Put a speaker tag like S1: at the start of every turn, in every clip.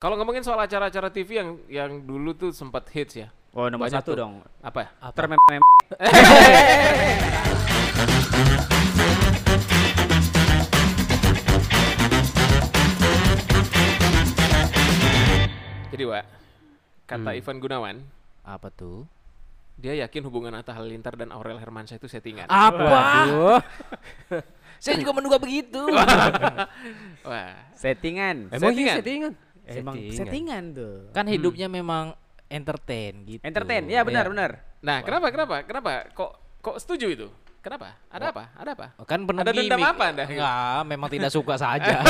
S1: Kalau ngomongin soal acara-acara TV yang yang dulu tuh sempat hits ya.
S2: Oh nomor
S1: Banyak
S2: satu
S1: tuh.
S2: dong.
S1: Apa ya?
S2: Termem.
S1: Jadi Wak, kata Ivan Gunawan,
S3: Apa tuh?
S1: dia yakin hubungan Atta Halilintar dan Aurel Hermansyah itu settingan.
S3: Ah. Apa?
S2: Waduh.
S3: Saya juga menduga begitu.
S1: Wah.
S2: Settingan.
S4: Emang iya
S1: Settingan.
S4: settingan?
S2: Emang
S4: Settingan.
S2: settingan tuh.
S3: kan hidupnya memang entertain gitu.
S2: Entertain.
S1: iya,
S2: Ya benar benar.
S1: Nah, kenapa kenapa? Kenapa? Kok kok setuju itu? Kenapa? Ada apa? Ada apa?
S3: Kan penuh
S1: Ada dendam
S3: gimmick.
S1: apa Anda?
S3: Enggak, memang tidak suka saja.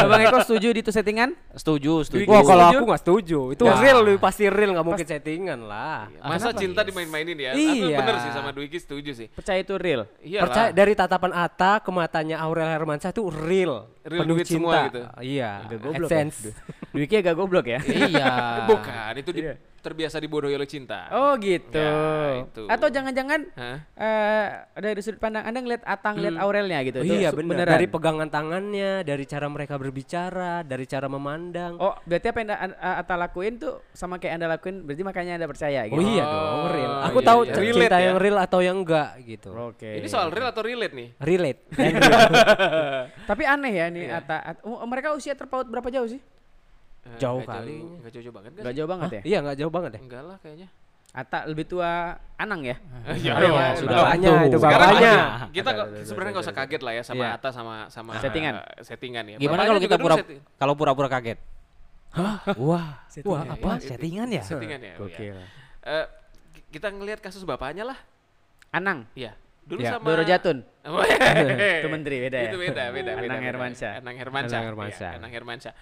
S2: Bang Eko setuju di itu settingan?
S3: setuju, setuju.
S4: Wah kalau aku nggak setuju. Itu
S1: Nah.
S3: Wah.
S4: real, lebih pasti real nggak mungkin settingan lah.
S1: Masa
S3: kenapa?
S1: cinta
S3: Yes.
S1: dimain-mainin ya? Aku
S4: Iya.
S1: bener sih sama Dwiki setuju sih.
S2: Percaya itu real.
S1: Iya
S4: Percaya dari tatapan Atta ke matanya Aurel Hermansyah itu real,
S1: Real
S4: penuh
S1: duit
S4: cinta.
S1: semua gitu.
S4: Iya.
S2: Agak goblok. ya.
S4: AdSense.
S2: Dwiki agak goblok ya.
S3: iya.
S1: Ah, Bukan, itu di- terbiasa dibodohi oleh cinta.
S2: Oh gitu.
S1: Ya, itu.
S2: Atau jangan-jangan
S1: Hah?
S2: eh dari sudut pandang Anda ngeliat Atang ngeliat Aurelnya gitu. Itu
S4: iya
S2: su-
S4: benar.
S2: beneran.
S4: Dari pegangan tangannya, dari cara mereka berbicara, dari cara memandang.
S2: Oh, berarti apa yang Anda- an- a- Ata lakuin tuh sama kayak Anda lakuin, berarti makanya Anda percaya gitu.
S4: Oh iya dong, real.
S1: Oh,
S4: Aku
S1: iya,
S4: tahu
S1: iya.
S4: c-
S1: Relate
S4: cinta
S1: ya?
S4: yang real atau yang enggak gitu.
S2: Oke.
S1: Ini soal real atau relate nih?
S4: Relate.
S2: Tapi aneh ya nih Ata. At- oh, mereka usia terpaut berapa jauh sih?
S1: Eh,
S4: Jauh
S1: nggak
S4: kali.
S1: Nggak jauh banget kan?
S2: Gak jauh banget ya.
S4: iya nggak jauh banget deh.
S1: Enggak lah kayaknya.
S2: Ata lebih tua Anang ya.
S1: Ya,
S2: dong,
S1: ya,
S2: sudah.
S1: dong.
S4: Bapaknya itu
S1: Sekarang
S4: bapaknya.
S1: aja, kita kok sebenarnya nggak usah kaget lah ya sama
S2: Iya.
S1: Atta sama sama
S2: Settingan.
S1: eh, settingan ya.
S3: Gimana
S1: Bapaknya
S3: kalau
S1: juga
S3: kita
S1: dulu
S3: pura
S1: setting-
S3: kalau pura-pura kaget? Wah. Wah,
S4: Settingan.
S3: apa? Settingan ya?
S1: Settingan ya. oh,
S4: Gokil.
S1: ya. Eh, ki- kita ngelihat kasus bapaknya lah.
S2: Anang.
S1: Iya. Dulu
S4: Ya.
S1: sama Oh, iya,
S2: Doro Jatun.
S1: Weh.
S2: Itu menteri, beda ya?
S1: Itu beda, beda, beda.
S2: Anang
S1: beda.
S2: Hermansyah.
S1: Anang Hermansyah.
S4: Anang
S1: iya,
S4: Hermansyah.
S1: Anang Hermansyah.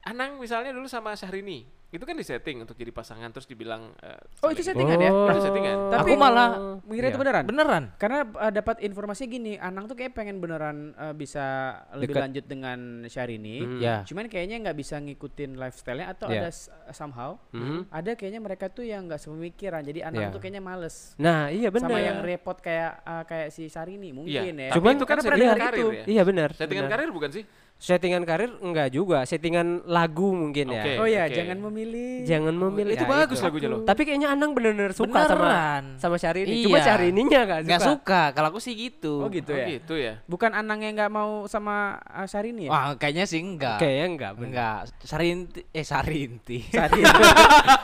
S1: Anang misalnya dulu sama Syahrini, itu kan disetting untuk jadi pasangan terus dibilang eh,
S2: Oh, itu
S1: saling-
S2: settingan ya?
S1: Oh, itu settingan. Oh.
S2: Tapi
S3: Aku malah
S2: mengira itu
S4: Iya.
S2: beneran.
S3: Beneran.
S2: Karena uh, dapat informasinya gini, Anang tuh kayak pengen beneran uh, bisa lebih
S4: Dekat.
S2: lanjut dengan Syahrini.
S1: Hmm. Ya.
S3: Ya.
S2: Cuman kayaknya nggak bisa ngikutin lifestyle-nya atau ada
S4: Iya.
S2: s- somehow
S1: Mhm.
S2: ada kayaknya mereka tuh yang nggak sepemikiran. Jadi Anang
S1: Ya.
S4: Iya.
S2: tuh kayaknya males.
S4: Nah, iya benar.
S2: Sama yang repot kayak uh, kayak si Syahrini mungkin ya.
S1: Tapi
S4: Cuman
S1: itu kan
S4: karena
S1: settingan
S4: pernah
S1: karir ya.
S4: Iya benar.
S1: Settingan
S4: benar.
S1: karir bukan sih?
S4: Settingan karir enggak juga, settingan lagu mungkin ya.
S1: Oke.
S2: Oh ya,
S1: Oke.
S2: jangan memilih.
S4: Jangan memilih.
S1: itu
S4: Ya,
S1: bagus lagunya loh.
S4: Tapi kayaknya Anang bener-bener suka
S3: Beneran.
S4: sama sama Syahrini. Cuma
S3: Iya.
S4: Syahrini-nya enggak suka.
S3: Enggak suka. Kalau aku sih gitu.
S2: Oh
S1: Oh,
S2: gitu ya.
S1: gitu ya.
S2: Bukan Anang yang nggak mau sama uh, Syahrini ya?
S3: Wah, kayaknya sih enggak.
S4: Kayaknya enggak bener.
S3: Enggak, Sarinti eh Sarinti.
S2: Syahrini.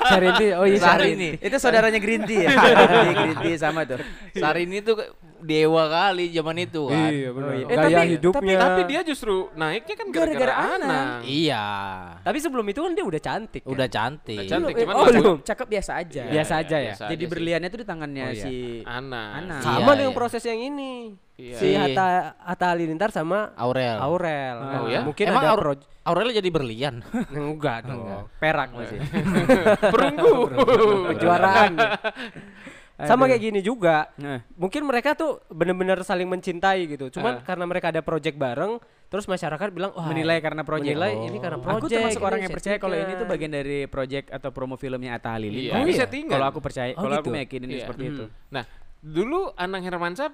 S4: Syahrini, oh iya
S3: Syahrini.
S2: itu saudaranya Green Tea ya. Green Tea, Green Tea sama tuh.
S3: Sarini tuh ke- dewa kali zaman itu kan.
S4: Iya benar.
S2: iya.
S1: Eh,
S4: Gaya
S1: tapi-
S4: hidupnya.
S1: Tapi, tapi dia justru naiknya kan gara-gara,
S4: Gara-gara
S1: Anang.
S3: Iya.
S4: Tapi sebelum itu kan dia udah cantik. kan?
S3: Udah cantik.
S1: Udah cantik,
S4: Belum,
S1: cuman
S4: eh, oh,
S1: lagu-
S4: belum.
S2: Cakep biasa aja.
S1: Iya,
S4: Biasa aja ya?
S1: biasa
S2: Jadi
S1: aja sih.
S2: berliannya tuh di tangannya si
S1: Anang.
S2: Anang.
S4: Sama
S3: Iya,
S4: dengan
S3: iya.
S4: proses yang ini.
S1: Iya.
S4: Si
S3: Iya.
S4: Hatta Hatta Halilintar sama
S3: Aurel.
S4: Aurel.
S1: Oh,
S4: Nah,
S1: ya?
S4: Mungkin
S3: Emang
S4: ada
S3: Aur-
S4: proj-
S3: Aurel jadi berlian.
S4: enggak dong. Perak masih.
S1: Perunggu.
S4: Kejuaraan. sama
S2: Aduh.
S4: kayak gini juga.
S2: Nah.
S4: Mungkin mereka tuh bener-bener saling mencintai gitu. Cuman karena mereka ada project bareng, terus masyarakat bilang wah
S2: Ah. menilai karena project. Oh.
S4: menilai ini karena project. Iya, Gitu.
S2: Aku termasuk
S4: ini
S2: orang yang percaya kalau ini tuh
S4: settingan.
S2: bagian dari project atau promo filmnya Atta
S1: Iya,
S2: Halilintar.
S1: ini settingan.
S2: Kalau aku percaya,
S4: Oh,
S2: kalau aku
S4: gitu.
S2: meyakini
S1: Iya.
S2: seperti itu.
S1: Nah, dulu Anang Hermansyah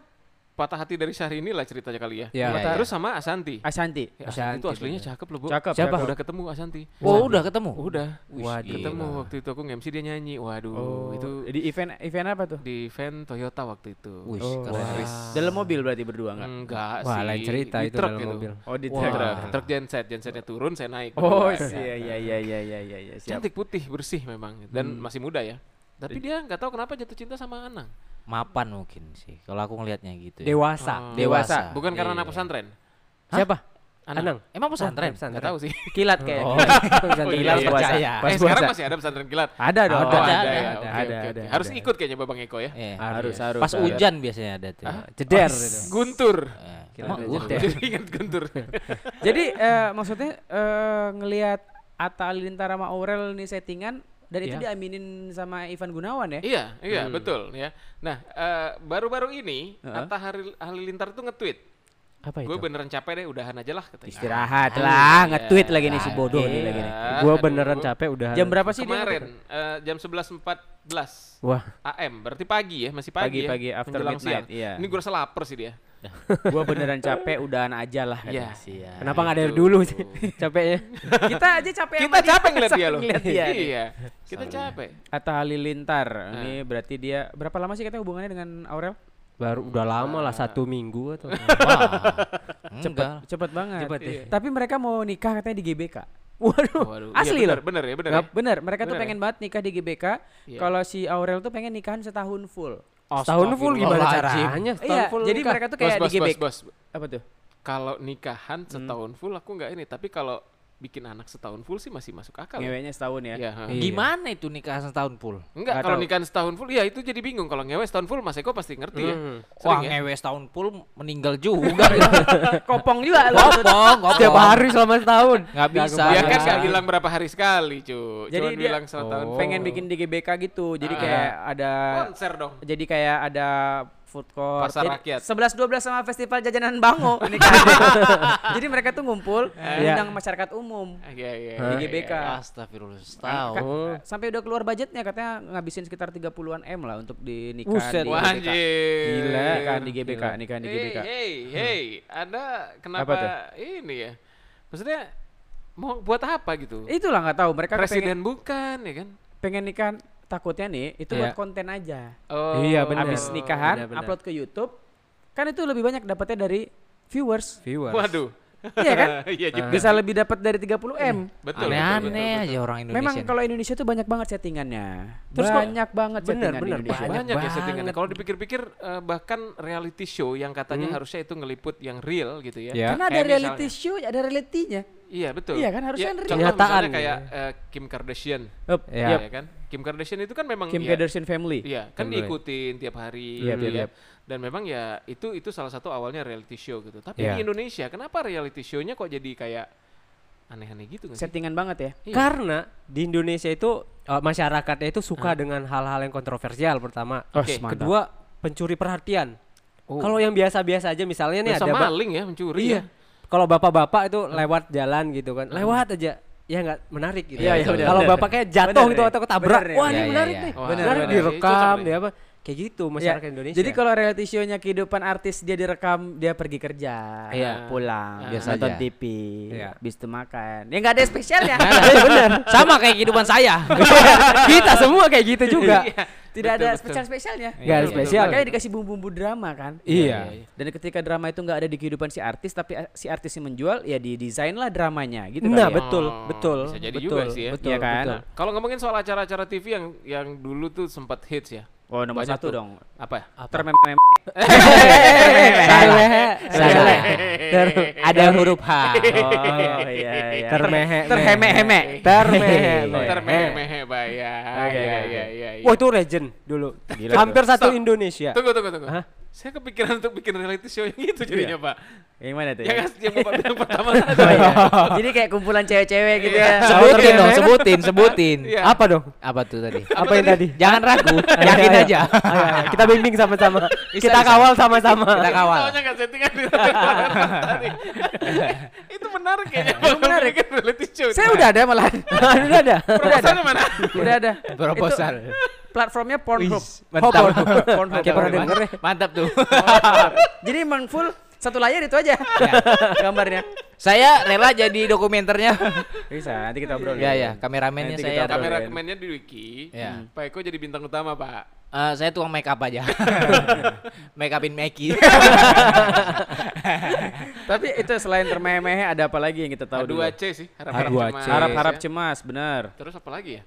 S1: patah hati dari Syahrini lah ceritanya kali ya.
S4: Iya.
S1: Nah,
S4: Iya.
S1: Terus sama Asanti.
S2: Hmm. Ashanti.
S1: Ya, Asanti itu aslinya cakep loh, Bu.
S2: Cakep,
S1: Siapa?
S2: cakep.
S1: Udah ketemu Asanti.
S3: Oh, udah ketemu.
S1: Udah.
S3: Waduh.
S1: Ketemu
S2: Iya.
S1: waktu itu aku nge-MC dia nyanyi. Waduh, itu
S2: Itu Oh. di event event apa tuh?
S1: di event Toyota waktu itu.
S3: Wih,
S2: Oh.
S3: keren.
S2: Dalam mobil berarti berdua
S1: Hmm.
S2: enggak?
S1: Enggak
S4: Wah,
S1: sih.
S4: lain cerita
S1: di
S4: itu
S1: truk
S4: dalam
S1: gitu.
S4: mobil.
S2: Oh di
S1: Wah. Truk,
S2: truk.
S1: truk genset, gensetnya turun saya naik.
S2: Oh
S1: berdua.
S2: iya iya iya iya iya iya iya siap. Hmm.
S1: Cantik putih bersih memang dan masih muda ya. Tapi dia nggak tahu kenapa jatuh cinta sama Anang.
S3: Mapan mungkin sih. Kalau aku ngelihatnya gitu. ya.
S4: Dewasa.
S1: Oh.
S2: Dewasa.
S1: Bukan karena anak
S3: Iya.
S1: pesantren.
S4: Siapa?
S1: Anang.
S4: Anang.
S3: Emang pesantren?
S4: pesantren.
S1: Nggak tahu sih.
S2: Ah. Kilat kayak.
S3: Oh.
S2: Pesantren
S1: Kilat
S2: pas puasa.
S3: percaya.
S2: Pas
S1: eh, sekarang
S2: puasa.
S1: masih ada pesantren kilat.
S2: Ada dong.
S1: Oh,
S3: Ada,
S1: ada,
S3: ada,
S1: ya.
S2: ada,
S1: Oke,
S2: ada,
S1: oke,
S2: ada,
S1: oke. Harus
S2: ada. Eh.
S1: ikut kayaknya Babang Eko ya.
S3: Iya.
S2: Harus, harus,
S3: Pas
S2: harus.
S3: hujan biasanya ada tuh.
S4: Jeder
S2: Oh,
S4: gitu.
S1: Guntur. Oh,
S3: Eh,
S2: Kira
S3: emang
S2: ada
S3: gua-
S2: jeda.
S1: Jadi ingat Guntur.
S2: Jadi eh, maksudnya eh, ngelihat Atta Halilintar sama Aurel nih settingan dan itu
S4: Iya.
S2: diaminin sama Ivan Gunawan ya?
S1: iya, iya, betul ya. Nah, eh, baru-baru ini Atta Haril- Halilintar tuh nge-tweet.
S4: Apa
S1: Gue beneran capek deh, udahan aja lah katanya.
S2: Istirahat lah, nge-tweet lagi nih si
S3: Ah,
S2: bodoh nih
S3: iya.
S2: lagi nih.
S1: Ah,
S4: Gue
S1: aduh.
S4: beneran capek udah.
S2: Jam berapa sih dia
S1: Kemarin
S2: nge-tweet?
S1: eh, jam 11.14
S4: Wah.
S1: AM, berarti pagi ya, masih pagi,
S2: Pagi,
S1: ya.
S2: pagi, after
S1: menjelang
S2: midnight,
S1: siang.
S2: iya.
S1: Ini gue rasa lapar sih dia.
S3: dah.
S2: Gua beneran capek udahan aja lah.
S1: Iya. Gitu.
S2: katanya. ya.
S3: Sia.
S4: Kenapa nggak dari dulu sih? capeknya?
S2: Kita aja capek
S1: Kita
S2: sama
S1: capek ngeliat dia
S2: Sampai
S1: loh.
S2: ngeliat dia nih.
S1: Iya. Nah. Kita capek.
S2: Atta Halilintar. Ini berarti dia berapa lama sih katanya hubungannya dengan Aurel?
S4: Baru udah lama lah
S2: Ah.
S4: satu minggu atau.
S3: Enggak.
S2: Cepet banget. Iya.
S4: Cepet ya.
S2: Tapi mereka mau nikah katanya di GBK. Waduh,
S1: Waduh. Iya,
S2: asli
S1: bener,
S2: loh.
S1: Bener ya, bener. ya.
S2: Bener, bener, mereka tuh
S1: Bener ya?
S2: pengen banget nikah di GBK.
S1: Iya. Oh,
S2: Kalau si Aurel tuh pengen nikahan setahun full.
S4: Setahun full gimana
S3: Astagfirullahaladzim.
S4: caranya? Setahun
S2: Iya,
S4: full
S2: jadi
S4: nikah.
S2: mereka tuh
S1: Bos,
S2: kayak
S1: bos,
S2: di Hmm.
S1: bos,
S2: GBK.
S1: bos.
S2: Apa tuh?
S1: Kalau nikahan setahun full aku nggak ini, tapi kalau bikin anak setahun full sih masih masuk akal. ya.
S2: Ngeweknya setahun ya.
S1: Iya, ha.
S4: Iya.
S3: Gimana itu nikah setahun full?
S1: Enggak,
S2: Nggak
S1: kalau
S2: tahu.
S1: nikahan setahun full, ya itu jadi bingung. Kalau ngewe setahun full, Mas Eko pasti ngerti ya.
S4: Hmm.
S1: Sering
S3: Wah
S1: ya?
S3: ngewe setahun full meninggal juga.
S2: Kopong juga lu.
S3: Kopong,
S4: Setiap
S3: kopong.
S4: hari selama setahun.
S3: Nggak bisa.
S1: Dia kan
S3: Iya.
S1: nggak bilang berapa hari sekali, cu.
S2: Jadi
S1: Cuman
S2: dia-
S1: bilang setahun full.
S2: Pengen bikin di GBK gitu. Jadi
S1: Ah.
S2: kayak ada
S1: konser dong.
S2: jadi kayak ada food court.
S1: Pasar
S2: Jadi
S1: rakyat.
S2: 11 12 sama festival jajanan Bango ini kan. jadi mereka tuh ngumpul undang masyarakat umum
S1: Iya, iya.
S2: Oh.
S1: iya,
S2: di GBK.
S1: Eh. iya.
S3: Astagfirullah setahun.
S4: Oh.
S2: Sampai udah keluar budgetnya katanya ngabisin sekitar 30-an M lah untuk di nikah
S4: Buset.
S2: di
S1: Wah,
S2: GBK.
S1: anjir.
S2: Gila kan di GBK, nikahan di
S1: Hey,
S2: GBK.
S1: hey,
S2: Hmm.
S1: hey, Anda kenapa ini ya? Maksudnya mau buat apa gitu?
S2: Itulah nggak tahu mereka
S1: Presiden bukan ya kan?
S2: Pengen, pengen nikahan takutnya nih itu buat
S4: Iya.
S2: konten aja.
S1: Oh,
S4: Iya, bener.
S2: Habis nikahan
S4: benar-benar.
S2: upload ke YouTube kan itu lebih banyak dapatnya dari viewers.
S4: Viewers.
S1: Waduh.
S2: iya kan? Eh,
S1: Iya juga. Iya.
S2: Bisa lebih dapat dari 30 M.
S1: Betul. betul, betul.
S3: Aneh-aneh aja orang Indonesia.
S2: Memang
S3: nih.
S2: kalau Indonesia tuh banyak banget settingannya. Terus
S4: Ba-
S2: banyak banget
S4: bener,
S2: settingan di
S4: bener,
S2: Indonesia.
S1: Banyak, ya
S3: banget.
S1: settingannya. Kalau dipikir-pikir eh, bahkan reality show yang katanya
S2: Hmm.
S1: harusnya itu ngeliput yang real gitu ya.
S4: Ya.
S2: Karena ada
S1: Kayak
S2: reality
S1: misalnya-
S2: show, ada realitinya.
S1: Iya betul.
S2: Iya kan, harusnya
S1: Ya,
S2: yang real.
S1: contoh misalnya
S4: Kenyataan.
S1: kayak eh, Kim Kardashian.
S2: Up,
S4: Ya.
S1: Ya kan? Kim Kardashian itu kan memang
S2: Kim
S1: ya,
S2: Kardashian family.
S1: Iya, kan
S4: Bener.
S1: diikutin tiap hari
S4: Iya,
S1: gitu
S4: iya,
S1: ya.
S4: iya.
S1: Dan memang ya itu itu salah satu awalnya reality show gitu. Tapi
S4: Iya.
S1: di Indonesia kenapa reality show-nya kok jadi kayak aneh-aneh gitu nggak sih?
S2: Settingan banget ya.
S1: Iya.
S4: Karena di Indonesia itu eh, masyarakatnya itu suka dengan hal-hal yang kontroversial pertama.
S1: Oke,
S2: Ah. Oh, mantap. Oh.
S4: Kedua, pencuri perhatian. Kalau yang biasa-biasa aja misalnya nih
S1: Dosa
S4: ada ba-
S1: maling ya mencuri ya.
S4: Iya. Kalau bapak-bapak itu lewat jalan gitu kan. Lewat aja. Ya nggak menarik gitu.
S2: Iya, iya, benar,
S4: Kalau
S2: benar.
S4: bapaknya jatuh
S2: Benar,
S4: gitu
S2: ya.
S4: atau ketabrak.
S2: Benar, ya.
S4: Wah,
S3: Iya,
S4: ini
S3: iya,
S4: menarik
S3: iya.
S4: nih.
S1: Wah,
S4: menarik
S1: benar,
S4: direkam
S1: iya.
S4: dia apa. Kayak gitu masyarakat
S2: Ya,
S4: Indonesia.
S2: Jadi kalau reality show-nya kehidupan artis dia direkam, dia pergi kerja,
S4: Iya.
S2: pulang,
S3: Biasa
S2: nonton
S3: aja.
S2: TV,
S4: Iya.
S2: habis itu makan. Ya Iya, nggak ada spesialnya.
S3: bener. Sama kayak kehidupan saya.
S4: kita semua kayak gitu juga.
S1: Betul,
S2: Tidak ada
S1: betul.
S2: spesial-spesialnya.
S4: Nggak ada
S1: Betul,
S4: spesial.
S2: Makanya dikasih bumbu-bumbu drama kan.
S4: Iya.
S2: Dan ketika drama itu nggak ada di kehidupan si artis, tapi a- si artis yang menjual, ya didesain lah dramanya gitu
S4: Nah,
S2: kali ya.
S4: betul,
S1: Oh,
S4: betul.
S1: bisa jadi
S4: betul,
S1: juga sih ya.
S4: Betul,
S2: Iya kan?
S4: betul.
S1: Kalau ngomongin soal acara-acara TV yang yang dulu tuh sempat hits ya.
S2: Oh nomor
S1: Banyak
S2: satu
S1: tuh.
S2: dong.
S1: Apa? ya?
S4: ya?
S2: Termem.
S3: Salah.
S4: Salah.
S3: Salah. Ter- ada huruf H.
S2: Oh iya iya.
S4: Termehe.
S2: Terheme-heme.
S4: Termehe.
S2: Iya.
S1: Termeh-meh bayar. Iya,
S4: Oke, oke,
S1: iya, iya, iya.
S4: Wah itu legend dulu.
S2: Gila
S4: Hampir satu
S1: Stop.
S4: Indonesia.
S1: Tunggu, tunggu, tunggu.
S4: Hah? Iya.
S1: Saya kepikiran untuk bikin reality show yang itu jadinya, Pak.
S2: Yang mana tuh?
S1: Yang
S2: ya?
S1: kas- yang Bapak bilang pertama ya.
S2: Oh, iya. Jadi kayak kumpulan cewek-cewek gitu ya.
S3: Sebutin dong, sebutin, sebutin.
S1: Iya.
S4: Apa dong?
S3: Apa tuh tadi?
S4: Apa, yang tadi?
S3: Jangan ragu, yakin
S2: Iya.
S4: Ayo, ayo.
S3: aja.
S4: Ayo, ayo. Kita bimbing sama-sama.
S3: Bisa,
S4: Kita
S3: bisa.
S4: kawal sama-sama.
S3: Kita kawal.
S1: Taunya nggak Iya, kan settingan di tadi. itu menarik kayaknya. Itu
S2: menarik.
S1: reality show.
S2: Saya udah ada malahan.
S4: Udah ada.
S1: Proposalnya mana?
S2: Udah ada.
S3: Proposal.
S2: Itu Platformnya Pornhub.
S3: Mantap.
S2: Pornhub.
S4: Kayak pernah
S2: Pornhub.
S4: denger ya.
S3: Mantap tuh.
S2: Jadi emang full satu layar itu aja gambarnya.
S3: Saya rela jadi dokumenternya.
S2: Bisa, nanti kita obrolin.
S3: Ya ya, kameramennya
S2: Nanti
S3: saya.
S2: kita obrolin.
S1: Kamera kemennya di Wiki.
S2: Iya.
S1: Hmm,
S3: Ya.
S1: Pak Eko jadi bintang utama, Pak.
S3: Eh, saya tuang make up aja. make upin Meki.
S2: Tapi itu selain termeh-meh ada apa lagi yang kita tahu dulu?
S1: A2C sih. Harap-harap
S4: A2C.
S1: cemas.
S2: Harap-harap
S1: ya.
S2: cemas, benar.
S1: Terus apa lagi ya?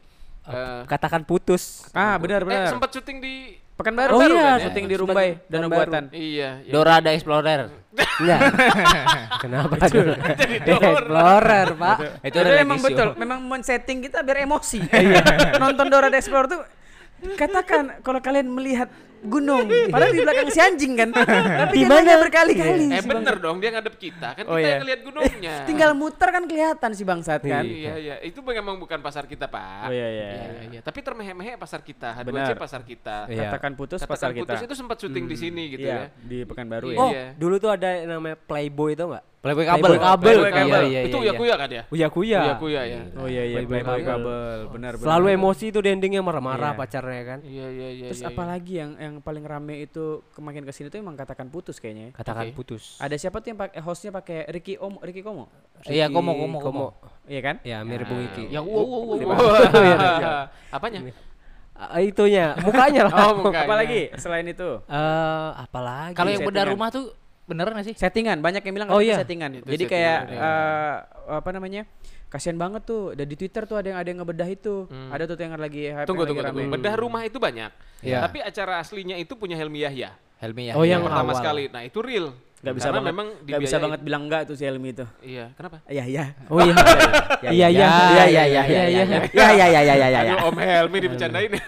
S4: Katakan putus.
S2: Ah,
S1: Eh,
S2: benar
S1: eh
S2: benar.
S1: sempat syuting di
S2: Pekanbaru
S4: Oh
S2: baru
S4: iya,
S2: kan, syuting di
S4: syuting
S2: Rumbai Danau
S4: Pekanbaru.
S2: Buatan.
S1: Iya, iya.
S3: Dora the Explorer.
S4: Enggak. Kenapa dulu? Explorer, Pak.
S3: Itu
S2: Itu
S3: reality
S2: memang
S3: show.
S2: betul, memang men-setting kita biar emosi.
S4: Iya.
S2: Nonton Dora the Explorer tuh katakan kalau kalian melihat gunung padahal di belakang si anjing kan tapi
S4: Di
S2: dia nanya
S4: mana? Iya.
S2: berkali-kali
S1: Eh
S2: si bang-
S1: bener dong dia ngadep kita kan
S2: Oh,
S1: kita
S2: iya.
S1: yang ngeliat gunungnya.
S2: tinggal muter kan kelihatan si bangsat kan
S1: Iya iya itu memang bukan pasar kita pak.
S2: Oh, iya, iya.
S1: iya. Tapi termehek-mehek pasar kita. H2C
S2: Benar.
S1: pasar kita.
S4: Iya.
S2: katakan putus
S1: Katakan
S2: pasar
S1: putus
S2: kita
S1: itu sempat syuting di sini gitu ya.
S2: Iya, di Pekanbaru ya
S4: Oh,
S1: Iya.
S4: dulu tuh ada yang namanya Playboy itu enggak?
S3: Playboy kabel.
S4: Playboy kabel.
S1: Playboy
S3: Iya,
S1: kabel.
S3: iya,
S1: itu
S3: iya,
S1: ya kuya kan ya?
S4: Uya Kuya.
S1: Kuya kuya ya.
S2: Oh iya iya
S4: Playboy
S2: Playboy
S4: kabel.
S2: kabel, benar benar.
S4: Selalu emosi itu dendingnya marah-marah
S2: Iya.
S4: pacarnya kan.
S1: Iya iya iya.
S2: Terus
S1: iya, iya.
S2: apalagi yang yang yang paling rame itu kemakin kesini tuh emang katakan putus kayaknya. ya.
S4: Katakan
S1: Oke.
S4: putus.
S2: Ada siapa tuh yang pak- eh, hostnya pakai Ricky Om Ricky Komo?
S3: Iya,
S4: Ricky
S3: komo, komo, komo.
S2: Iya kan?
S4: Ya, mirip Bung Iki.
S1: Yang wow wow
S3: Iya.
S1: wow.
S4: Mirip-
S2: Iya,
S1: wow. Apanya?
S4: Ah, itunya, mukanya lah.
S1: Oh, muka.
S2: Apalagi selain itu
S4: Eh, apalagi?
S3: Kalau yang bedah
S2: settingan.
S3: rumah tuh beneran gak sih?
S2: settingan banyak yang bilang
S4: Oh,
S2: katanya
S4: iya.
S2: settingan.
S1: Itu
S2: Jadi
S1: settingan,
S2: kayak
S1: iya.
S2: eh, apa namanya? Kasihan banget tuh. Dan di Twitter tuh ada yang ada yang ngebedah itu.
S1: Hmm.
S2: Ada tuh yang lagi hype
S1: Tunggu
S2: yang lagi
S1: tunggu tunggu.
S2: rame.
S1: Bedah rumah itu banyak.
S3: Iya.
S1: Tapi acara aslinya itu punya Helmi Yahya.
S3: Helmi ya.
S4: Oh, yang
S1: pertama
S4: awal.
S1: sekali. Nah, itu real.
S2: Gak bisa
S1: Karena
S2: banget.
S1: memang
S2: gak bisa
S1: dibiayain.
S2: banget bilang enggak tuh si Helmi itu.
S1: Iya, kenapa?
S2: Iya iya.
S4: Oh iya. Iya,
S2: Ya,
S4: iya.
S3: Iya, iya, iya, iya, iya.
S2: Iya iya iya iya iya.
S1: Aduh, Om Helmi dibecandain ya.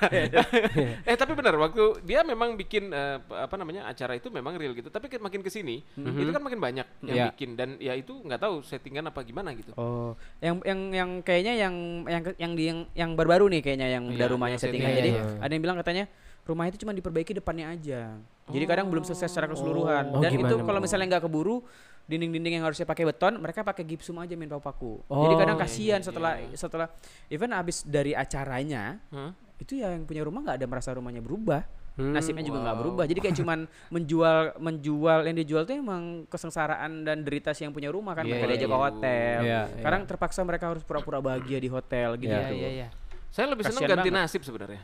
S1: eh tapi benar waktu dia memang bikin eh, apa namanya acara itu memang real gitu. Tapi ke- makin kesini
S2: Mhm.
S1: itu kan makin banyak yang
S4: Iya.
S1: bikin dan ya itu nggak tahu settingan apa gimana gitu.
S2: Oh, yang yang yang kayaknya yang yang ke- yang di yang, yang baru-baru nih kayaknya yang
S1: Iya,
S2: udah rumahnya
S1: yang
S2: settingan.
S3: settingan,
S2: Jadi
S3: iya,
S2: ada yang bilang katanya rumah itu cuma diperbaiki depannya aja. Jadi kadang belum selesai secara keseluruhan.
S4: Oh,
S2: Dan itu
S4: gimana,
S2: kalau
S4: Bang?
S2: misalnya nggak keburu, dinding-dinding yang harusnya pakai beton, mereka pakai gipsum aja main paku-paku. Jadi kadang
S4: Oh, iya,
S2: kasihan
S1: iya,
S2: setelah
S1: iya.
S2: setelah even abis dari acaranya,
S1: Hah?
S2: itu ya yang punya rumah nggak ada merasa rumahnya berubah
S4: Hmm,
S2: nasibnya juga nggak
S1: wow.
S2: berubah jadi kayak cuman menjual menjual yang dijual tuh emang kesengsaraan dan derita si yang punya rumah kan
S3: Iya,
S2: mereka
S3: iya,
S2: diajak ke
S1: iya.
S2: hotel
S4: Iya,
S2: sekarang terpaksa mereka harus pura-pura bahagia di hotel gitu
S3: Iya,
S2: tuh.
S3: iya, iya.
S1: Saya lebih seneng
S2: Kasian
S1: ganti
S2: banget.
S1: nasib sebenarnya.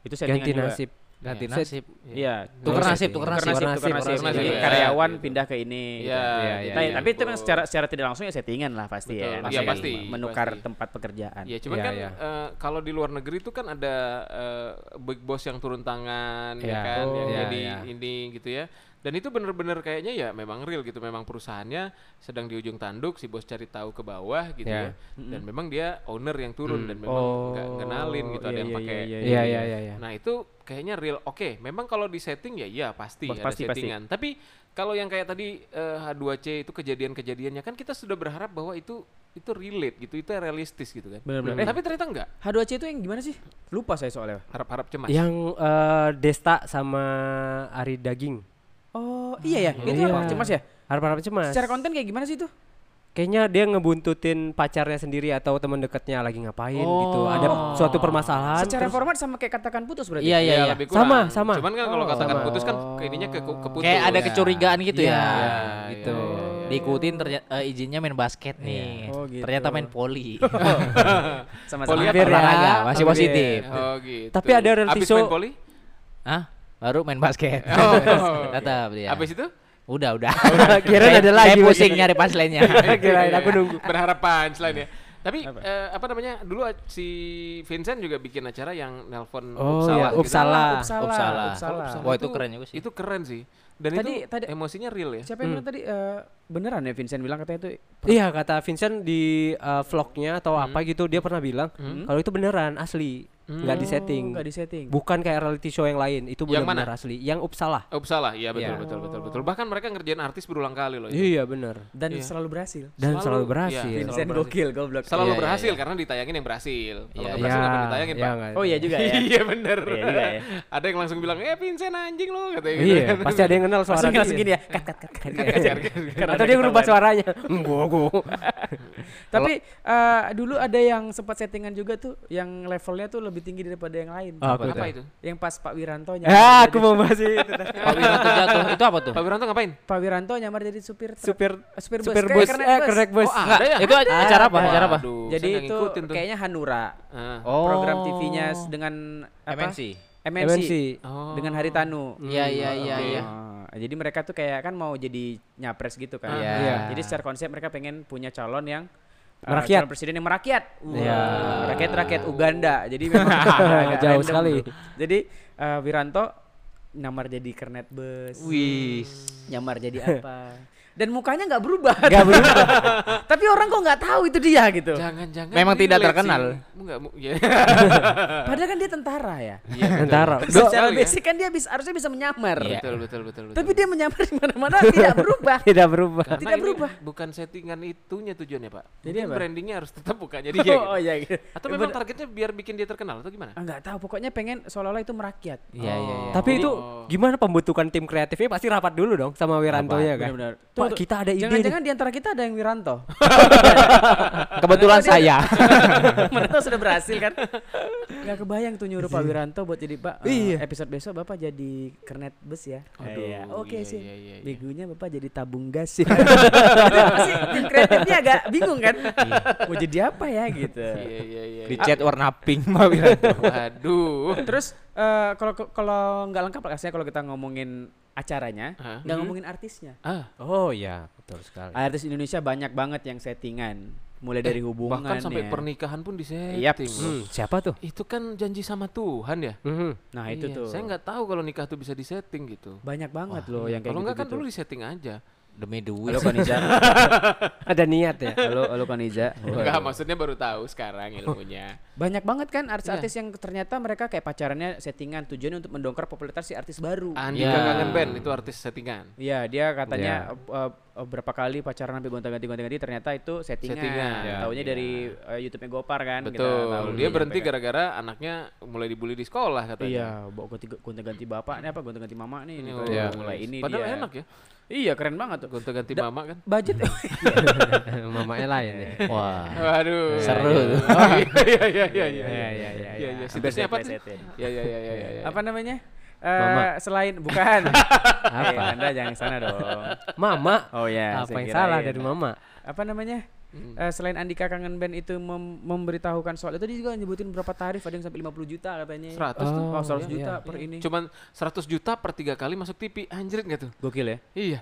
S2: itu settingan
S4: Ganti
S2: juga.
S4: nasib.
S3: Ganti
S4: Iya.
S3: nasib.
S2: iya
S3: Tukar
S4: Iya,
S3: nasib,
S4: iya.
S3: tukar
S2: tukar nasib
S3: nasib.
S4: nasib,
S2: tukar
S4: tukar
S2: nasib
S1: nasib,
S2: jadi
S1: iya,
S2: karyawan
S1: gitu.
S2: pindah ke ini
S1: Iya,
S4: Iya,
S2: gitu.
S4: iya,
S2: Nah,
S4: iya.
S2: tapi itu memang secara secara tidak langsung ya settingan lah pasti
S1: Betul.
S2: ya
S1: Iya,
S2: maksudnya
S1: pasti,
S2: menukar
S1: pasti.
S2: tempat pekerjaan
S1: Iya, cuman
S4: Iya,
S1: kan
S4: iya.
S1: eh, kalau di luar negeri itu kan ada eh, big boss yang turun tangan, ya
S4: Iya.
S1: kan, yang
S4: Oh. Iya,
S1: jadi
S4: iya.
S1: ini gitu ya. Dan itu bener-bener kayaknya ya memang real gitu, memang perusahaannya sedang di ujung tanduk, si bos cari tahu ke bawah gitu
S4: Iya. Mm. Oh,
S1: ya. Dan memang dia owner yang turun dan memang nggak kenalin gitu, ada yang pakai.
S4: Iya, iya, iya, iya.
S1: Nah itu kayaknya real. Oke, memang kalau di setting ya iya pasti
S2: Pas-
S1: ada
S2: pasti, pasti.
S1: settingan. Tapi kalau yang kayak tadi eh, H2C itu kejadian-kejadiannya kan kita sudah berharap bahwa itu itu relate gitu, itu realistis gitu kan.
S2: Benar-benar.
S1: Eh, tapi ternyata enggak.
S2: H2C itu yang gimana sih lupa saya soalnya
S1: Harap-harap cemas.
S4: Yang eh, Desta sama Ari Daging.
S2: Oh iya ya, itu
S4: Iya.
S2: apa cemas ya?
S4: Harap-harap cemas.
S2: Secara konten kayak gimana sih itu?
S4: Kayaknya dia ngebuntutin pacarnya sendiri atau teman dekatnya lagi ngapain gitu. Ada
S1: Oh.
S4: suatu permasalahan.
S2: Secara
S4: Ah, terus-
S2: format sama kayak katakan putus berarti.
S3: Iya, iya,
S1: Ya,
S3: iya.
S1: lebih kurang.
S4: Sama, sama.
S1: Cuman kan kalau
S4: Oh.
S1: katakan
S4: Sama.
S1: putus kan ke ininya ke, ke, ke putus.
S3: Kayak ada
S1: Ya.
S3: kecurigaan gitu
S4: Iya.
S3: ya.
S1: Iya,
S3: Gitu.
S1: iya, iya, iya.
S3: Diikutin ternyata eh, izinnya main basket nih.
S2: Oh, gitu.
S3: Ternyata main poli.
S2: Sama-sama.
S1: Poliat
S4: Hampir ya.
S3: olahraga, masih
S4: Hampir.
S3: positif.
S1: Oh gitu.
S4: Tapi ada reality
S1: Abis
S4: show-
S1: main poli?
S3: Hah? Baru main basket.
S1: Oh, oke.
S3: Tetap dia.
S1: Abis itu?
S3: Udah, udah.
S4: Kirain
S3: Saya-
S4: ada lagi
S3: Saya pusing
S4: begini.
S3: nyari punchline-nya.
S4: Kirain,
S1: Iya,
S4: aku
S1: iya.
S4: nunggu.
S1: Berharap punchline ya. Tapi eh, apa? namanya dulu a- si Vincent juga bikin acara yang nelpon
S4: Oh
S1: Uppsala
S4: ya,
S1: gitu.
S4: Uppsala.
S2: Uppsala.
S3: Uppsala.
S2: Uppsala.
S1: Uppsala
S3: Wah, itu keren juga sih.
S1: Itu keren sih. Dan
S2: Tadi-
S1: itu
S2: tadi-
S1: emosinya real ya.
S2: Siapa yang
S4: Hmm.
S2: bilang tadi eh, beneran ya Vincent bilang katanya itu
S4: Iya kata Vincent di eh, vlognya atau apa gitu dia pernah bilang
S1: Hmm.
S4: kalau itu beneran asli, Oh, nggak disetting.
S2: Enggak di setting.
S4: Bukan kayak reality show yang lain, itu
S1: Yang
S4: benar-benar asli. Yang Uppsala.
S1: Uppsala, iya betul
S4: Iya.
S1: betul betul betul. Bahkan mereka ngerjain artis berulang kali loh. itu.
S4: Iya bener
S2: Dan
S1: Iya.
S2: selalu berhasil.
S4: Dan
S1: Selalu-
S4: selalu,
S1: iya,
S4: berhasil.
S1: Vincent
S2: Vincent gokil goblok.
S1: Selalu
S3: Iya, iya,
S1: berhasil
S3: iya.
S1: karena ditayangin yang berhasil. Kalau
S3: Iya,
S1: nggak berhasil nggak pernah ditayangin
S4: iya,
S1: pak.
S4: nggak-
S2: Oh iya juga ya.
S1: Iya bener.
S2: Iya juga ya.
S1: ada yang langsung bilang, eh Vincent anjing lo katanya. gitu
S4: Iya,
S1: kan.
S4: pasti ada yang kenal suara
S2: Langsung
S4: dia.
S2: langsung gini ya. Kat kat kat kat. kat. Karena
S4: Atau
S2: ada
S4: dia ngerubah
S2: ketahuan.
S4: suaranya. Gua gua.
S2: Tapi eh, dulu ada yang sempat settingan juga tuh yang levelnya tuh lebih tinggi daripada yang lain.
S4: Ah, aku
S1: Apa
S4: tahu.
S1: itu?
S2: Yang gitu. pas Pak Wiranto
S4: Ah,
S2: nyamar
S4: aku
S2: jadi-
S4: mau bahas itu.
S3: Pak Wiranto jatuh. Itu apa tuh?
S1: Pak Wiranto ngapain?
S2: Pak Wiranto nyamar jadi supir truk.
S4: Supir
S2: Eh, supir bus.
S4: supir
S2: Kayak
S4: bus.
S2: kernet
S4: Eh,
S2: bus. ah,
S4: kernet bus.
S1: Oh,
S3: Enggak,
S1: ada ya?
S3: itu acara apa? Acara apa?
S1: Waduh, saya
S2: Jadi
S1: nggak
S2: itu
S1: ngikutin tuh.
S2: kayaknya Hanura.
S1: Ah.
S3: Oh.
S2: Program TV-nya s- dengan apa?
S3: MNC.
S2: MNC.
S4: MNC.
S1: Oh.
S2: Dengan Hari Tanu.
S3: Iya, iya, iya,
S2: Oke.
S3: iya.
S2: Ah, Jadi mereka tuh kayak kan mau jadi nyapres gitu kan.
S3: Iya.
S4: Iya.
S2: Jadi secara konsep mereka pengen punya calon yang ah, calon
S4: Merakyat.
S2: presiden yang merakyat.
S4: Iya.
S2: Rakyat rakyat Uganda. Jadi memang agak
S4: Jauh
S2: random.
S4: sekali.
S2: Jadi eh, Wiranto nyamar jadi kernet bus.
S3: Wih.
S2: Nyamar jadi apa? Dan mukanya nggak berubah.
S4: Gak berubah.
S2: Tapi orang kok nggak tahu itu dia gitu.
S1: Jangan-jangan
S3: Memang tidak
S1: relate
S3: terkenal.
S1: sih. Enggak, mu- ya.
S2: Padahal kan dia tentara ya.
S1: Iya, betul.
S4: Tentara.
S1: Betul
S2: Secara
S1: ya. Iya.
S2: basic kan dia bisa harusnya bisa menyamar.
S1: Betul, betul, betul, betul.
S2: Tapi dia menyamar di mana-mana tidak berubah.
S4: Tidak berubah.
S1: Karena
S2: tidak
S1: Eh, nah, ini
S2: berubah.
S1: Bukan settingan itunya tujuannya, Pak.
S2: Jadi
S1: Jadi
S2: apa?
S1: brandingnya harus tetap buka jadi dia.
S2: Oh
S1: gitu.
S2: iya Ah, gitu.
S1: Atau memang targetnya biar bikin dia terkenal atau gimana?
S2: Enggak tahu pokoknya pengen seolah-olah itu merakyat.
S3: Iya, iya, iya.
S4: Tapi itu gimana pembentukan tim kreatifnya pasti Oh. rapat dulu dong sama Wirantonya kan.
S2: Benar-benar. Itu
S4: Pak, kita ada ide nih.
S2: Jangan-jangan di antara kita ada yang Wiranto.
S3: Kebetulan
S2: Padahal dia-
S3: saya.
S2: Mana tahu sudah berhasil kan? Gak kebayang tuh nyuruh Pak Wiranto buat jadi Pak. eh, Episode besok Bapak jadi kernet bus ya. Iya.
S1: Oh,
S2: Oke
S3: iya,
S2: sih.
S3: iya, iya, iya.
S2: Begonya Bapak jadi tabung gas sih. Pasti tim kreatifnya agak bingung kan? Mau jadi apa ya gitu.
S1: Iya iya iya.
S3: Dicat warna pink Pak Wiranto.
S1: Waduh.
S2: Terus eh, kalau kalau nggak lengkap lah kasihnya kalau kita ngomongin acaranya,
S1: Hah? Hmm?
S2: nggak ngomongin artisnya.
S1: Ah,
S3: Oh iya, betul sekali.
S2: Artis Indonesia banyak banget yang settingan, mulai dari hubungan
S1: Eh, bahkan sampai
S2: ya.
S1: pernikahan pun disetting.
S2: Yap. Hmm,
S1: loh.
S4: Siapa tuh?
S1: Itu kan janji sama Tuhan ya.
S4: Mhm.
S2: Nah, itu
S1: Iya,
S2: tuh.
S1: Saya nggak tahu kalau nikah tuh bisa disetting gitu.
S2: banyak banget loh yang kayak
S1: Kalau nggak kan
S2: gitu-gitu.
S1: dulu disetting aja.
S3: Demi duit.
S2: Halo Kaniza.
S4: Ada niat ya.
S2: Halo, halo Kaniza.
S1: Enggak, maksudnya baru tahu sekarang ilmunya.
S2: Banyak banget kan artis-artis
S1: Iya.
S2: yang ternyata mereka kayak pacarannya settingan tujuannya untuk mendongkrak popularitas si artis baru.
S1: Andika
S3: Iya.
S1: Kangen Band itu artis settingan.
S2: Iya, dia katanya eh, eh, berapa kali pacaran sampai gonta-ganti gonta-ganti ternyata itu settingan.
S1: Settingan. Ya,
S2: Taunya dari eh, YouTube-nya Gopar kan. kita tahu
S1: Betul. Dia
S2: di
S1: berhenti
S2: YouTube-nya kan.
S1: gara-gara anaknya mulai dibully di sekolah
S2: Iya,
S1: katanya.
S2: bawa gonti- gonta-ganti bapak nih apa gonta-ganti mama nih. nih,
S1: Oh,
S2: kalau
S1: iya.
S2: Mulai ini
S1: Padahal
S2: dia.
S1: enak ya.
S2: Iya, keren banget tuh.
S1: Gonta-ganti
S2: Da-
S1: mama kan.
S2: Budget
S4: Mamanya lain ya.
S3: Wah.
S1: Waduh.
S3: Seru.
S1: Oh, Iya iya iya iya.
S2: Iya, iya, iya,
S1: Iya
S2: iya.
S1: iya. Situsnya apa? sih?
S2: Pleset-plesetin.
S1: Iya iya iya iya. iya.
S2: apa namanya? Eh
S4: Mama.
S2: selain bukan. apa? anda jangan sana dong.
S4: Mama.
S2: Oh ya.
S4: Apa yang salah dari mama?
S2: Apa namanya?
S1: Hmm.
S2: Eh, selain Andika Kangen Band itu mem- memberitahukan soal itu dia juga nyebutin berapa tarif ada yang sampai 50 juta katanya.
S1: 100 tuh.
S2: Oh, 100
S1: Iya.
S2: juta per ini.
S1: Cuman 100 juta per tiga kali masuk TV. Anjrit nggak tuh?
S2: Gokil ya.
S1: Iya.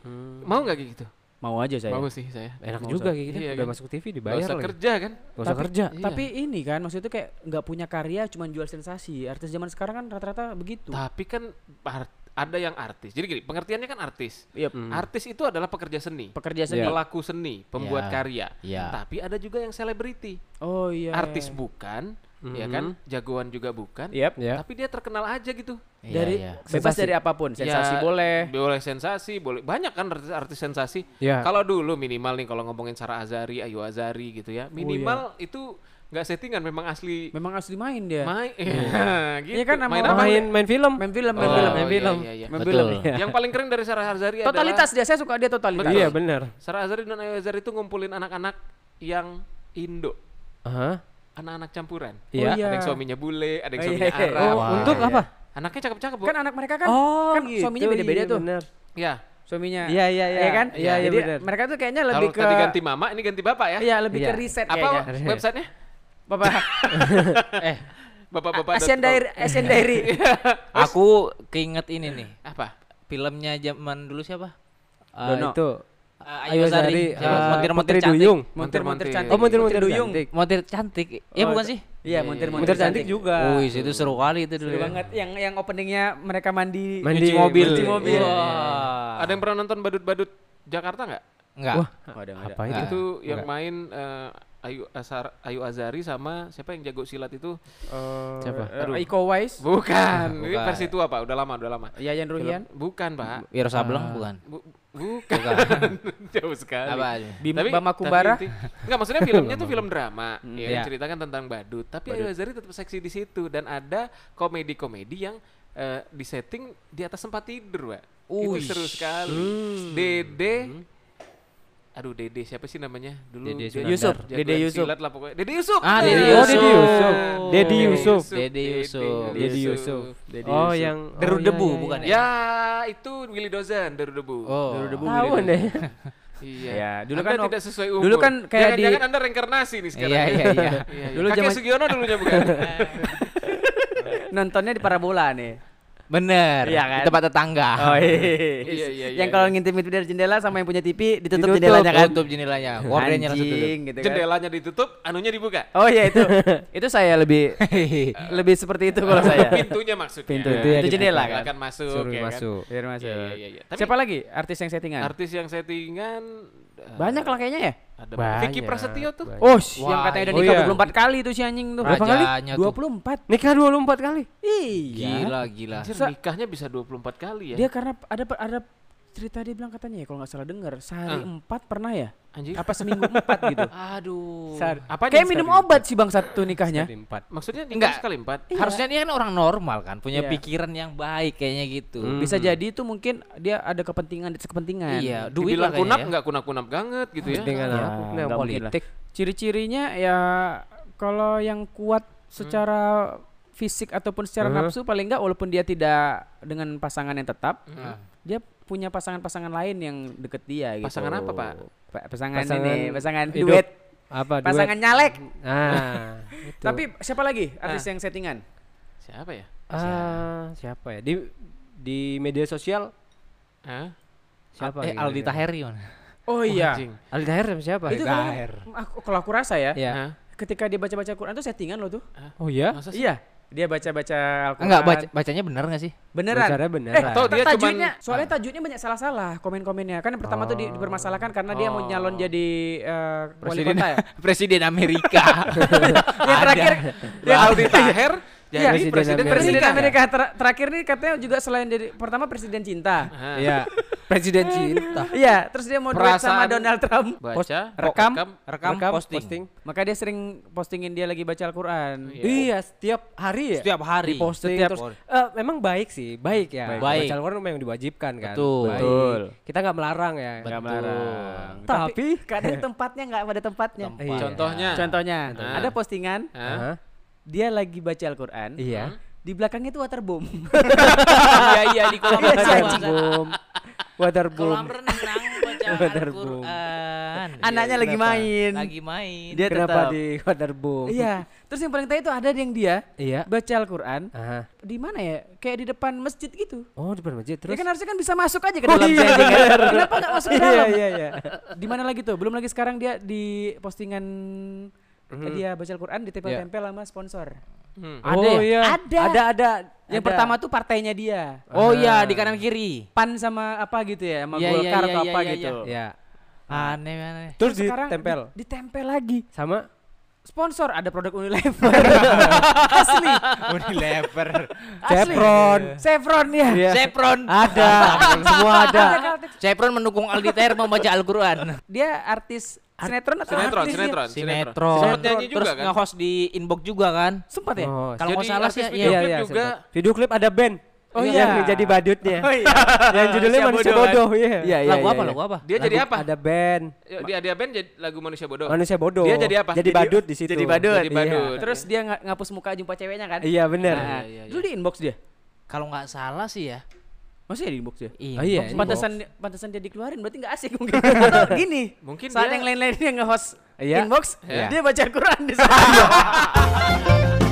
S1: Mau nggak kayak gitu?
S2: Mau aja saya.
S1: Mau sih saya.
S4: Enak
S2: Nggak
S4: juga
S2: usah.
S4: kayak gitu.
S1: Iya
S4: Udah
S1: kan?
S4: masuk TV
S1: Gak
S4: dibayar
S1: usah
S4: lagi.
S1: kerja kan?
S4: Gak usah
S2: Tapi-
S4: kerja.
S1: Iya.
S2: Tapi ini kan maksudnya tuh kayak nggak punya karya cuman jual sensasi. Artis zaman sekarang kan rata-rata begitu.
S1: Tapi kan art- ada yang artis. Jadi gini, pengertiannya kan artis.
S2: Iya.
S1: Artis itu adalah pekerja seni,
S2: Pekerja seni.
S1: pelaku seni, pembuat
S3: Iya.
S1: karya.
S3: Iya.
S1: Tapi ada juga yang selebriti.
S2: Oh iya. Mm-hmm.
S1: Artis bukan, ya kan? Jagoan juga bukan.
S2: Yep.
S4: Ya.
S1: Tapi dia terkenal aja gitu.
S3: Iya,
S2: Dari
S3: iya.
S2: bebas
S4: Sensasi.
S2: dari apapun, sensasi
S1: Ya,
S2: boleh.
S1: Boleh sensasi, boleh. Banyak kan artis, artis sensasi.
S4: Iya.
S1: Kalau dulu minimal nih kalau ngomongin Sarah Azari, Ayu Azari gitu
S2: Oh,
S1: ya.
S2: iya.
S1: Minimal itu nggak settingan memang asli
S2: Memang harus dimain dia.
S1: main. gitu.
S2: Iya kan, sama
S1: main
S2: orang
S1: apa?
S4: Main main film.
S2: Main film, main
S1: Oh,
S2: film,
S1: iya,
S2: main film.
S1: iya, iya.
S2: Main
S3: Betul.
S2: film. iya.
S1: Yang paling keren dari Sarah Azari adalah-
S2: Totalitas dia, saya suka dia totalitas.
S4: Iya benar.
S1: Sarah Azhar dan Ayu Azhar itu ngumpulin anak-anak yang Indo,
S4: Aha.
S1: anak-anak campuran.
S4: Iya.
S1: Ada yang suaminya bule, ada yang
S2: Oh,
S1: suaminya
S2: iya.
S1: Arab.
S4: Oh,
S3: Wah,
S4: untuk
S3: iya.
S4: apa?
S1: Anaknya cakep-cakep, Bu.
S2: Kan anak mereka kan, kan suaminya
S4: gitu,
S2: beda-beda
S4: iya,
S2: tuh.
S4: benar.
S1: ya.
S2: Suaminya.
S4: Iya, iya, iya.
S2: kan?
S4: Iya, iya,
S2: Jadi
S4: benar.
S2: mereka tuh kayaknya lebih
S1: Kalau
S2: ke
S1: tadi ganti mama, ini ganti bapak ya.
S2: Iya, lebih ke
S4: Iya.
S2: riset
S1: Apa
S2: kayaknya.
S1: websitenya?
S2: Bapak
S3: Eh,
S1: Bapak-bapak.
S2: Asian
S1: dot com.
S2: Diary, Asian Diary.
S3: aku keinget ini nih.
S1: Apa?
S3: Filmnya zaman dulu siapa? Eh,
S4: Dono. Ah, Itu.
S2: Ah,
S3: Eh, Ayu
S4: Ayo Zari.
S3: Azari.
S4: eh,
S3: Montir-montir
S4: Putri
S3: cantik.
S4: Duyung.
S2: Montir-montir
S1: Montir-montir.
S2: cantik.
S4: Oh, Montir-montir Duyung.
S2: cantik.
S3: Montir cantik. Ya
S2: Oh,
S3: bukan sih?
S2: Iya, montir-montir
S4: Montir cantik juga.
S3: Wih, itu seru kali itu dulu.
S2: Seru
S3: ya.
S2: banget yang yang openingnya mereka mandi.
S4: Mandi.
S3: Cuci mobil.
S4: Cuci mobil.
S3: Wah. Iya.
S1: Ada yang pernah nonton badut-badut Jakarta nggak?
S3: Enggak.
S4: Wah,
S2: Ada, ada.
S4: apa itu?
S1: Itu yang main eh, Ayu Azhar, Ayu Azari sama siapa yang jago silat itu?
S4: Siapa?
S2: Eh, Iko Wise,
S1: Bukan. Ini
S3: Bukan.
S1: versi tua, Pak. Udah lama, udah lama.
S2: Yayan Ruhian,
S1: Bukan, Pak.
S3: Wiro
S2: Ah.
S3: Sableng bukan.
S1: Bu- bukan. Jauh sekali.
S3: kan. Apa?
S2: Bim- Bama Kubara.
S1: tapi inti- Enggak, maksudnya filmnya tuh film drama ya, yang
S3: Iya.
S1: ceritakan tentang badut, tapi Ayu Azhari tetap seksi di situ dan ada komedi-komedi yang eh, disetting di atas tempat tidur, Pak. Itu
S3: Uish. Hmm.
S1: seru sekali. Dede Aduh Dede siapa sih namanya? Dulu
S3: Dede
S1: dia
S3: Sunandar.
S2: Yusuf,
S1: jagoan
S2: Dede Yusuf.
S1: Silat lah pokoknya. Dede Yusuf.
S3: Ah,
S1: betul.
S3: Dede
S4: Oh, Dede
S3: Yusuf.
S4: Yusuf. Dede Yusuf.
S3: Dede Yusuf.
S4: Dede Yusuf. Oh, yang
S3: Deru
S4: oh, iya,
S3: debu
S4: iya, iya.
S3: bukan ya?
S1: Ya, itu Willy Dozan dari Debu.
S3: Oh.
S4: Tahu deh.
S1: Iya.
S2: Ya, dulu
S1: Anda
S2: kan
S1: tidak sesuai umur.
S2: dulu kan kayak di-
S1: Jangan-jangan Anda reinkarnasi nih sekarang.
S3: Iya, iya, iya.
S1: Dulu
S2: Dulu
S1: Kakek
S2: zaman- Gitu
S1: Sugiono dulunya bukan. Gitu kan.
S2: nontonnya di parabola nih.
S3: Bener.
S2: Iya kan?
S3: Di tempat tetangga.
S2: Oh iya.
S1: Iya, iya, iya, iya.
S2: Yang kalau ngintip-ngintip dari jendela sama yang punya TV ditutup,
S3: Tutup
S2: jendelanya kan.
S3: Tutup jendelanya. Koordinatnya langsung tutup.
S2: Anjing, gitu kan.
S1: Jendelanya ditutup, anunya dibuka.
S2: Oh iya itu. itu saya lebih lebih seperti itu kalau saya.
S1: Pintunya maksudnya.
S4: Pintu
S1: Ya,
S4: itu ya
S2: Itu
S4: dibuka.
S2: jendela kan.
S1: Silakan masuk
S4: Suruh
S1: ya kan?
S4: masuk.
S2: Biar masuk.
S1: Iya, iya, iya, iya. Tapi
S2: Siapa lagi artis yang settingan?
S1: Artis yang settingan eh,
S2: Banyak lah kayaknya ya.
S1: Ada
S4: Banyak,
S1: Vicky Prasetyo tuh.
S4: banyak.
S2: Oh, yang
S3: Wah,
S2: katanya udah
S4: oh
S2: nikah
S4: iya.
S2: 24 kali tuh si anjing tuh.
S3: Berapa kali? Rajanya tuh.
S2: 24.
S4: Nikah 24 kali.
S2: Iya.
S3: Gila, gila.
S1: Anjir, nikahnya bisa 24 kali ya.
S2: Dia karena ada ada cerita dia bilang katanya ya kalau nggak salah dengar sehari
S1: Ah.
S2: empat pernah ya
S1: Anjing.
S2: apa seminggu empat gitu
S3: Aduh.
S4: Sar-
S1: Apa
S2: kayak minum obat sih bang satu nikahnya
S4: Tadi empat.
S1: Maksudnya di
S3: Enggak.
S1: sekali empat.
S2: Iya,
S3: Harusnya dia kan orang normal kan, punya
S4: Iya.
S3: pikiran yang baik kayaknya gitu.
S2: bisa jadi itu mungkin dia ada kepentingan di kepentingan
S3: Iya, duit
S1: Dibilang
S3: lah
S1: kunap
S3: kayaknya. ya.
S1: nggak kunap-kunap banget gitu ya.
S4: Dengan
S2: Ya,
S4: aku dengan
S2: nggak mungkin lah.
S4: politik.
S2: ciri-cirinya ya kalau yang kuat secara fisik ataupun secara
S4: Hmm.
S2: nafsu paling enggak walaupun dia tidak dengan pasangan yang tetap dia punya pasangan-pasangan lain yang deket dia gitu.
S1: Pasangan apa, Pak?
S2: Pa- pasangan,
S4: Pasangan
S2: ini, pasangan
S4: hidup.
S2: duet,
S4: Apa duet?
S2: pasangan nyalek.
S4: Ah, itu.
S2: Tapi siapa lagi artis yang settingan?
S1: Siapa ya?
S4: ah, siapa ya? Di di media sosial
S1: Hah?
S4: siapa?
S3: eh,
S4: kira-kira?
S3: Aldi Taheri mana?
S2: Oh iya.
S1: Anjing.
S4: Aldi Tahir sama siapa?
S2: Itu
S4: Aldi
S2: kan
S4: Tahir.
S2: aku kalau aku rasa ya,
S4: Ya.
S1: Hah?
S2: ketika dia baca-baca Quran itu settingan loh tuh.
S4: Oh ya?
S1: Masa sih?
S2: Iya, dia baca-baca Al-Quran.
S3: Enggak baca, bacanya benar enggak sih?
S2: Beneran.
S4: Bacanya beneran.
S2: Eh,
S1: Atau dia
S2: dia
S1: cuman-
S2: tajudnya, soalnya tajudnya banyak salah-salah komen-komennya. Kan yang pertama tuh di- dipermasalahkan karena dia mau nyalon jadi eh, wali
S3: Presiden-
S2: kota ya.
S3: Presiden Amerika.
S2: yang terakhir
S1: Dia Aldi Taher jadi
S2: Iya.
S1: presiden,
S4: Presiden Amerika.
S2: Presiden
S1: Amerika.
S2: Amerika Ter- terakhir nih katanya juga selain dari pertama presiden cinta.
S1: Hah.
S4: Iya. Presiden cinta.
S2: Iya, terus dia mau duet sama
S1: Perasaan-
S2: Donald Trump.
S4: Post-
S1: Baca,
S4: rekam,
S3: rekam, posting.
S2: Maka dia sering postingin dia lagi baca Al-Quran.
S4: Iya, setiap hari ya.
S3: Setiap hari.
S4: Diposting
S2: Setiap-
S4: terus. Eh, memang baik sih, baik
S3: Baik.
S4: ya.
S3: Baik.
S4: Baca Al-Quran memang diwajibkan kan.
S3: Betul.
S4: Baik.
S2: Betul.
S4: Kita nggak melarang ya.
S3: Nggak melarang.
S4: Tapi
S2: kadang tempatnya nggak pada tempatnya.
S3: Tempat.
S4: Iya.
S1: Contohnya.
S2: Contohnya,
S1: Contohnya.
S2: ada postingan
S1: Hah?
S4: Hah?
S2: dia lagi baca Al-Quran.
S4: Iya.
S2: Di belakangnya itu waterbomb.
S3: Iya iya di kolam
S2: Iya,
S3: renang.
S2: iya.
S3: Bang.
S4: Waterboom. Waterboom.
S3: Kolam renang baca
S4: Waterboom.
S3: Al-Qur'an. Iya,
S2: Anaknya lagi
S4: kenapa?
S2: main.
S3: Lagi main.
S2: Dia
S4: Kenapa
S2: tetap.
S4: di waterboom?
S2: Iya. Terus yang paling tai itu ada yang dia
S4: Iya.
S2: baca Al-Quran.
S4: Aha.
S2: Di mana ya? Kayak di depan masjid gitu.
S4: Oh, di depan masjid terus.
S2: Ya kan harusnya kan bisa masuk aja ke
S4: Oh,
S2: dalam
S4: iya,
S2: saja kan?
S4: bener.
S2: Kenapa nggak masuk ke
S4: Iya,
S2: dalam?
S4: iya, iya.
S2: Di mana lagi tuh? Belum lagi sekarang dia di postingan
S4: Mhm.
S2: eh, dia baca Al-Quran ditempel-tempel
S4: Iya.
S2: sama sponsor.
S1: Hmm.
S4: Ada
S3: Ada ya?
S4: oh, iya.
S2: Ada.
S4: Ada ada.
S2: Yang
S4: Ada.
S2: pertama tuh partainya dia.
S3: Oh iya di kanan kiri.
S2: PAN sama apa gitu ya, sama
S3: Iya, iya,
S2: Golkar
S3: iya,
S2: atau
S3: iya,
S2: apa
S3: iya,
S2: gitu.
S4: Iya.
S3: Aneh aneh.
S4: Terus
S2: Sekarang
S4: ditempel
S2: di- ditempel lagi.
S4: sama
S2: Sponsor ada produk Unilever. Asli.
S3: Unilever.
S2: Asli.
S4: Chevron.
S2: Chevron ya.
S4: Iya.
S3: Chevron.
S4: Ada. Semua ada.
S2: Caltex.
S3: Chevron mendukung Aldi Taher membaca Al-Qur'an.
S2: Dia artis sinetron atau
S1: Sinetron,
S2: artis dia?
S1: sinetron,
S3: Sinetron.
S1: Sempat nyanyi
S3: Terus
S1: juga kan?
S3: nge-host di inbox juga kan?
S2: Sempat ya?
S4: Oh,
S3: Kalau nggak
S1: Jadi
S3: salah
S1: artis
S3: sih
S1: video
S3: iya.
S1: klip juga.
S4: sempat. Video klip ada band.
S2: Oh,
S4: Yang
S2: iya.
S4: jadi badutnya.
S2: Oh iya.
S4: Yang judulnya Manusia Bodoh, iya.
S2: Iya, iya,
S3: Lagu
S2: iya,
S3: apa
S2: iya.
S3: lagu apa?
S1: Dia jadi apa?
S4: Ada band.
S1: Yuk, Dia dia band jadi lagu manusia bodoh.
S4: Manusia Bodoh.
S1: Dia jadi apa?
S4: Jadi
S1: Jadi-
S4: badut di situ.
S1: jadi badut. Jadi
S4: Iya.
S1: badut.
S2: Terus dia nga- ngapus muka jumpa ceweknya kan?
S4: Iya, bener.
S2: Nah,
S1: iya, iya.
S2: Dulu di inbox dia.
S3: Kalau nggak salah sih ya.
S2: Masih ya di inbox dia?
S3: Inbox.
S4: Oh, iya, inbox.
S2: Pantesan pantesan dia dikeluarin berarti nggak asik mungkin. Atau gini.
S1: Mungkin
S2: saat
S1: dia-
S2: yang lain-lain dia nge-host
S4: Iya.
S2: inbox,
S4: Iya.
S2: dia baca Quran di sana.